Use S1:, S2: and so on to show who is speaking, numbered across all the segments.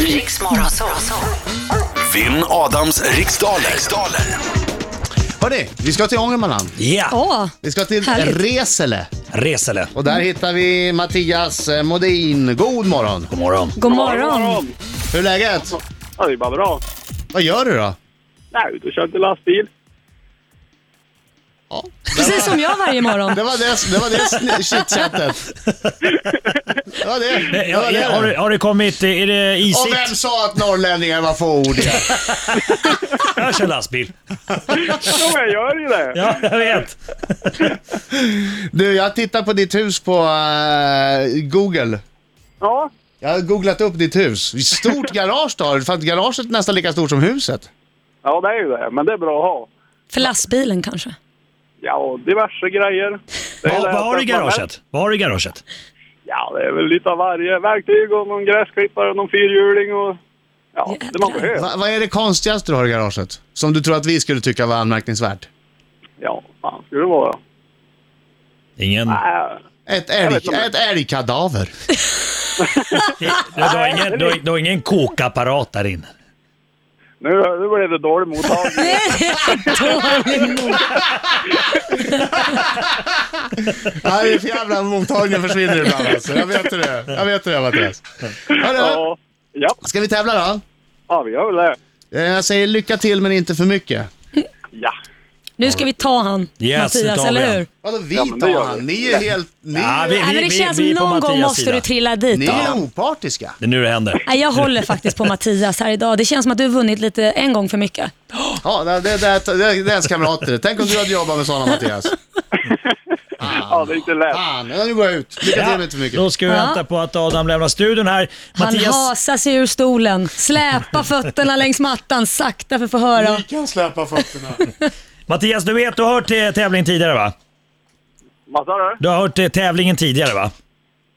S1: Riks Morgonzoo.
S2: Vinn Adams riksdaler. riksdaler.
S3: Hörni, vi ska till Ångermanland.
S4: Ja,
S5: Åh,
S3: Vi ska till
S5: Härligt.
S3: Resele.
S4: Resele.
S3: Och där hittar vi Mattias eh, Modin. God morgon!
S4: God morgon.
S5: god morgon.
S3: Hur är läget?
S6: Ja, det är bara bra.
S3: Vad gör du då?
S6: Nej, ute och körde lastbil.
S5: Precis som jag varje morgon.
S3: Det var det, det, var det sn- chitchatet. Det var det. det, var
S4: Eh, Ja, ja, har,
S3: det.
S4: det- har det kommit, är det
S3: Och
S4: isigt?
S3: vem sa att norrlänningar var fåordiga?
S4: Jag kör lastbil.
S6: Jo, jag gör ju det.
S4: Ja, jag vet.
S3: Du, jag tittar på ditt hus på eh, Google.
S6: Ja,
S3: Jag har googlat upp ditt hus. Stort garage du har. För att garaget är nästan lika stort som huset.
S6: ja det är ju det. Men det är bra att ha.
S5: För lastbilen kanske.
S6: Ja, diverse grejer. Det är
S4: Vad,
S6: det
S4: vad
S6: jag
S4: har du i
S6: träffar mest.
S4: garaget? Vad har du i garaget?
S6: Ja, det är väl lite av varje. Verktyg och någon gräsklippare och någon fyrhjuling och... Ja, det man
S5: Jävlar.
S6: behöver.
S3: Va, vad är det konstigaste du har i garaget? Som du tror att vi skulle tycka var anmärkningsvärt?
S6: Ja, fan skulle det vara.
S4: Ingen.
S6: Äh,
S3: Ett, älg,
S6: vet inte.
S3: ett älgkadaver.
S4: Du har ingen, du har, du har ingen kokapparat där inne.
S6: nu, nu blev det dålig mottagning.
S3: Ja, det är för jävla mottagningen försvinner ibland alltså. Jag vet hur det är. Jag vet hur det är Mattias. Hörru,
S6: Ja, ja,
S3: ska vi tävla då?
S6: ja, vi gör väl det.
S3: Eh, Jag säger lycka till men inte för mycket.
S6: Ja.
S5: Nu ska vi ta han,
S4: Yes, nu
S5: Mattias,
S4: tar vi
S5: eller
S4: han.
S5: hur?
S3: Vadå vi
S6: Ja, men det
S3: tar
S6: gör
S3: han?
S6: vi.
S3: Ni är helt... Ni,
S4: Ja, vi,
S5: Nej, men det
S4: vi,
S5: känns
S4: vi, vi är på
S5: någon gång
S4: Mattias
S5: måste
S4: sida.
S5: du trilla dit.
S3: ni är
S5: Ja.
S3: opartiska.
S4: Det är nu det händer.
S5: Nej, jag håller faktiskt på Mattias här idag. Det känns som att du vunnit lite en gång för mycket.
S3: Ja, det, det, det, det, det är ens kamrater. Tänk om du hade jobbat med sådana Mattias.
S6: ja, det är inte lätt.
S3: Fan, ja, nu går jag ut. Lycka till men inte för mycket.
S4: Då ska vi
S5: Ja.
S4: vänta på att Adam lämnar studion här.
S5: Han
S4: Mattias,
S5: hasar sig ur stolen, släpar fötterna längs mattan sakta för att få höra.
S3: kan släppa fötterna.
S4: Mattias, du vet, du har hört eh, tävlingen tidigare va?
S6: Vad sa du?
S4: Du har hört eh, tävlingen tidigare va?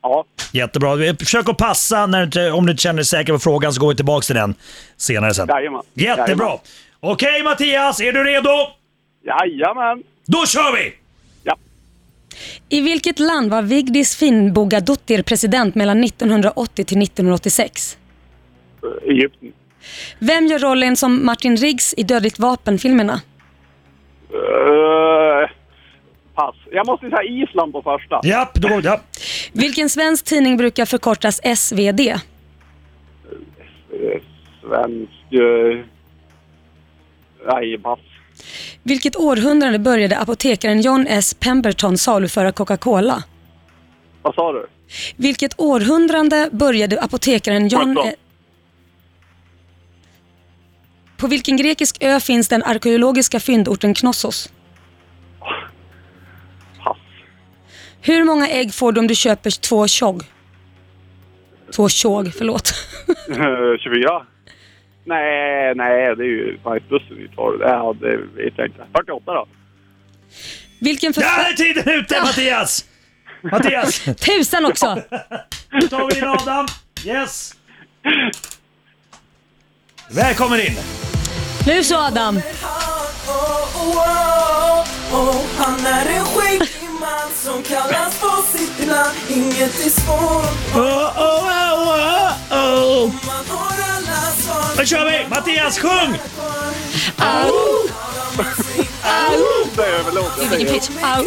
S6: Ja,
S4: Jättebra. Försök att passa när du, inte- om du inte känner dig säker på frågan så går vi tillbaka till den senare sen.
S6: Jajamän.
S4: Jättebra.
S6: Jajamän.
S4: Okej Mattias, är du redo?
S6: jajamän.
S4: Då kör vi!
S6: Ja.
S5: I vilket land var Vigdis Finnbogadottir president mellan 1980 till 1986?
S6: Eh, Egypten.
S5: Vem gör rollen som Martin Riggs i Dödligt vapen-filmerna?
S6: Eh, pass. Jag måste säga Island på första.
S4: Japp, då går ja.
S5: Vilken svensk tidning brukar förkortas SvD?
S6: Eh, Svensk... eh, Nej, pass.
S5: Vilket århundrade började apotekaren John S. Pemberton saluföra Coca-Cola?
S6: Vad sa du?
S5: Vilket århundrade började apotekaren John...
S6: Sjutton.
S5: eh, På vilken grekisk ö finns den arkeologiska fyndorten Knossos?
S6: Pass.
S5: Hur många ägg får du om du köper två tjog? Två tjog, förlåt.
S6: Eh, 24? Nej, nej, det är ju bajsbussen vi tar. Ja, det vet jag inte. 48 då?
S5: Vilken
S4: Där är
S5: författare...
S4: tiden ute Mattias! Mattias,
S5: Tusan också!
S4: nu tar vi in Adam. Yes! Välkommen in!
S5: Nu så Adam!
S7: Han är en skäggig man som kallas på sitt namn Inget är svårt
S4: Oh, oh, oh, oh, oh.
S7: om man har alla svar
S4: Nu kör vi! Mattias, sjung!
S6: Det överlåter jag.
S5: Vilken
S6: dig.
S5: pitch! Au!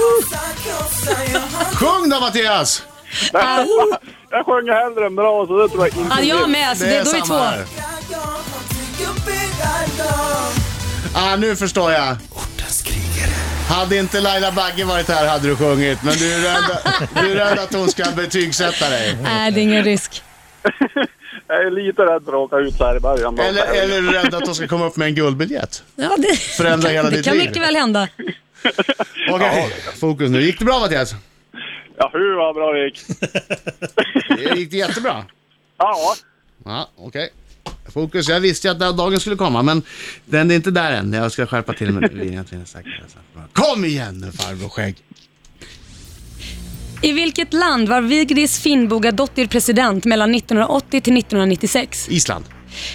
S3: Sjung då Mattias!
S5: Au!
S6: Jag sjunger hellre än bra, så det tror jag inte.
S5: Ja, jag med. Alltså, det, då är vi
S3: samma här.
S5: två.
S3: Ah, nu förstår jag. Hade inte Laila Bagge varit här hade du sjungit, men du är rädd, du är rädd att hon ska betygsätta dig.
S5: Nej, det är ingen risk.
S6: Jag är lite rädd för att åka ut så här i början. då.
S3: Eller, eller är du rädd att hon ska komma upp med en guldbiljett?
S5: Ja, det,
S3: Förändra hela
S5: det
S3: ditt
S5: kan
S3: liv.
S5: mycket väl hända.
S3: Okej, fokus nu. Gick det bra Mattias?
S6: Ja, hur vad bra det gick.
S3: Gick det jättebra?
S6: Ja,
S3: Ja, okej. Fokus. Jag visste ju att den här dagen skulle komma, men den är inte där än. Jag ska skärpa till mig. nu. Linjen till en säker- Kom igen nu farbror Skägg!
S5: I vilket land var Vigdis Finnbogadottir president mellan 1980 till 1996?
S3: Island.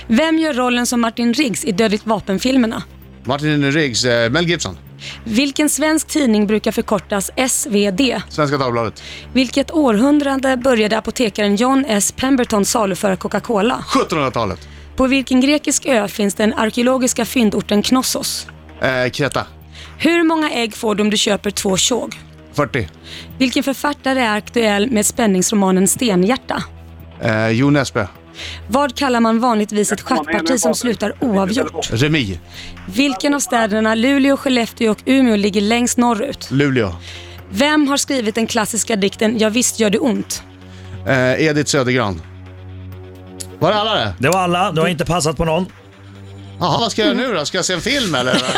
S5: Vem gör rollen som Martin Riggs i Dödligt vapen-filmerna?
S3: Martin Riggs, eh, Mel Gibson,
S5: Vilken svensk tidning brukar förkortas SvD?
S3: Svenska Dagbladet.
S5: Vilket århundrade började apotekaren John S. Pemberton saluföra Coca-Cola?
S3: 1700-talet.
S5: På vilken grekisk ö finns den arkeologiska fyndorten Knossos?
S3: Eh, Kreta,
S5: Hur många ägg får du om du köper två tjog?
S3: 40.
S5: Vilken författare är aktuell med spänningsromanen Stenhjärta?
S3: Eh, Jo Nesbø,
S5: Vad kallar man vanligtvis ett schackparti som slutar oavgjort?
S3: Remi,
S5: Vilken av städerna Luleå, Skellefteå och Umeå ligger längst norrut?
S3: Luleå,
S5: Vem har skrivit den klassiska dikten “Ja visst gör det ont”?
S3: eh, Edith Södergran. Var det alla det?
S4: Det var alla, du har inte passat på någon.
S3: Jaha, vad ska jag göra nu då? Ska jag se en film eller?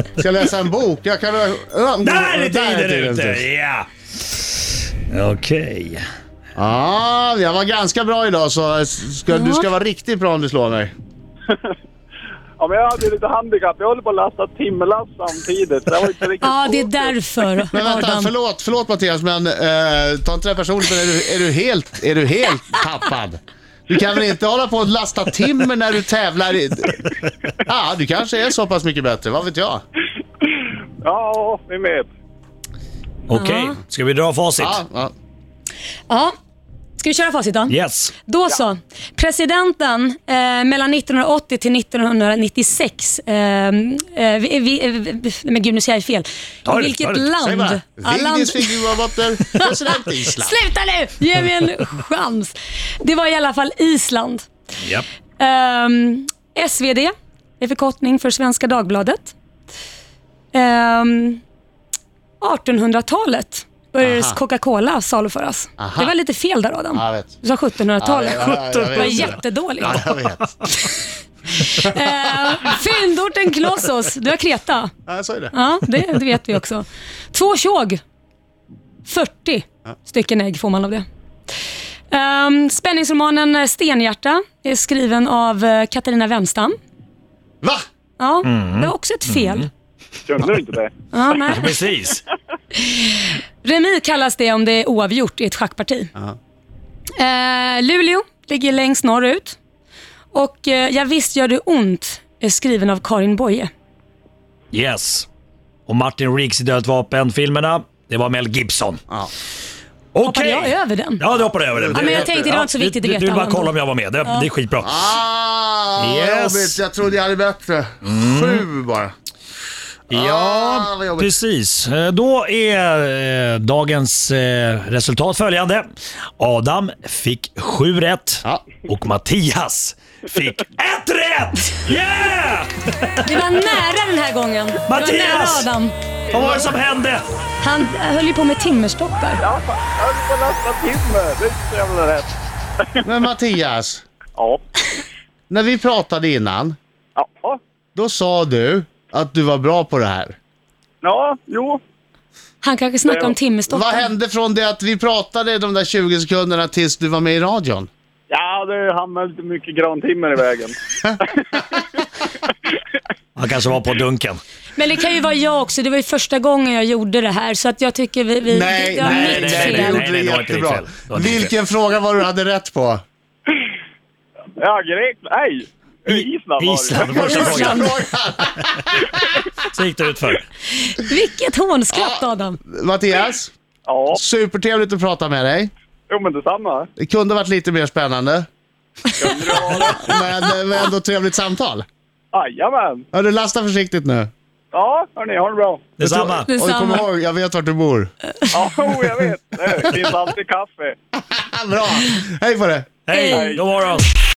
S3: ska jag läsa en bok? Jag kan...
S4: Där är tiden ute! Ja! Okej.
S3: Ja, jag var ganska bra idag så ska, du ska vara riktigt bra om du slår mig.
S6: Ja, men jag hade lite handikapp. Jag höll på att lasta timmerlass samtidigt. så Det var inte riktigt
S5: Ja, det är därför,
S3: Men vänta,
S5: Adam.
S3: förlåt, förlåt Mattias men eh, ta inte det här personligt men är du, är du helt, är du helt tappad? Du kan väl inte hålla på och lasta timmer när du tävlar? i- Ja, du kanske är så pass mycket bättre, vad vet jag?
S6: Ja, vi med.
S4: Okej, ska vi dra facit?
S3: Ja, ja.
S5: Ja. Ska vi köra facit då?
S4: Yes.
S5: Då så. Presidenten eh, mellan 1980 till 1996. Eh, eh, vi, vi, eh, vi, men gud, nu säger jag fel.
S4: Ta det,
S5: I vilket
S4: ta det.
S3: Säg bara.
S5: land? Ja, land-
S3: Vigdis figurroboter, president Island.
S5: Sluta nu! Ge mig en chans. Det var i alla fall Island.
S4: Japp.
S5: Ehm, SvD är förkortning för Svenska Dagbladet. Ehm, 1800-talet började
S3: Aha.
S5: Coca-Cola saluföras.
S3: Aha.
S5: Det var lite fel där Adam.
S3: Ja, jag vet.
S5: Du sa 1700-talet.
S3: Ja, jag- jag- jag vet.
S5: det var jättedåligt.
S3: Ja, jag vet.
S5: Ehm, Fyndorten Knossos, det var Kreta.
S3: Ja, jag sa ju det.
S5: Ja, det, det vet vi också. Två tjog. 40 stycken ägg får man av det. Ehm, spänningsromanen eh, Stenhjärta är skriven av eh, Katarina Wemstam.
S3: Va?
S5: Ja, det
S4: Mm.
S5: var också ett fel.
S6: Kunde du inte det?
S5: Ja, nej.
S4: Precis.
S5: Remi kallas det om det är oavgjort i ett schackparti. Eh, Luleå ligger längst norrut. Och eh, Ja visst gör det ont är skriven av Karin Boye.
S4: Yes. Och Martin Riggs i Dödligt vapen-filmerna, det var Mel Gibson.
S3: Ja.
S5: Hoppade
S4: Okej.
S5: jag över den?
S4: Ja, du hoppade över den.
S3: Ja,
S5: men jag tänkte det var inte så
S4: Ja,
S5: viktigt
S4: du,
S5: att
S4: du,
S5: veta
S4: du bara
S5: alla
S4: kolla
S5: ändå.
S4: om jag var med. Det, det är skitbra.
S3: Ah, vad
S4: Yes. Mm.
S3: jobbigt. Jag trodde jag hade bättre. Sju bara. Ah,
S4: Ja,
S3: vad jobbigt.
S4: precis. Eh, Då är eh, dagens eh, resultat följande. Adam fick sju rätt
S3: Ja.
S4: och Mattias fick ett rätt! Yeah!
S5: Det var nära den här gången. Det var nära
S4: Mattias!
S5: Adam.
S4: Vad var det som hände?
S5: Han höll ju på med timmerstockar.
S6: Ja, fan, jag höll på att lasta timmer. Det är inte så jävla rätt.
S3: Men Mattias,
S6: Ja.
S3: när vi pratade innan,
S6: Ja.
S3: då sa du att du var bra på det här.
S6: Ja, jo.
S5: Han kanske snackar om
S3: Vad
S5: timmerstockar.
S3: hände från det att vi pratade de där 20 sekunderna tills du var med i radion?
S6: Ja, det hamnade lite mycket grantimmer i vägen.
S4: Han kanske var på dunken.
S5: Men det kan ju vara jag också. Det var ju första gången jag gjorde det här. Så att jag tycker vi... vi det, det var
S4: nej, nej,
S5: mitt fel.
S4: nej, nej,
S3: Du
S4: nej,
S3: gjorde det
S4: det var inte ditt
S3: jättebra.
S4: fel. Det var inte ditt
S3: Vilken fråga var det du hade rätt på?
S6: Ja, Grekland. Nej! Island var det.
S4: Island, första frågan. Så gick det ut för.
S5: Vilket hånskratt Adam.
S3: Mattias,
S6: Ja,
S3: supertrevligt att prata med dig.
S6: jo men detsamma.
S3: Det kunde ha varit lite mer spännande, men det var ändå ett trevligt samtal.
S6: Jajamän!
S3: Ja, du lastar försiktigt nu.
S6: Ja, hörni, ha det bra.
S4: Detsamma.
S3: Och du kommer
S5: Detsamma.
S3: ihåg, jag vet vart du bor.
S6: Ja, jo, jag vet. Det finns alltid kaffe.
S3: Ja, Bra! Hej på dig!
S4: Hej, god morgon.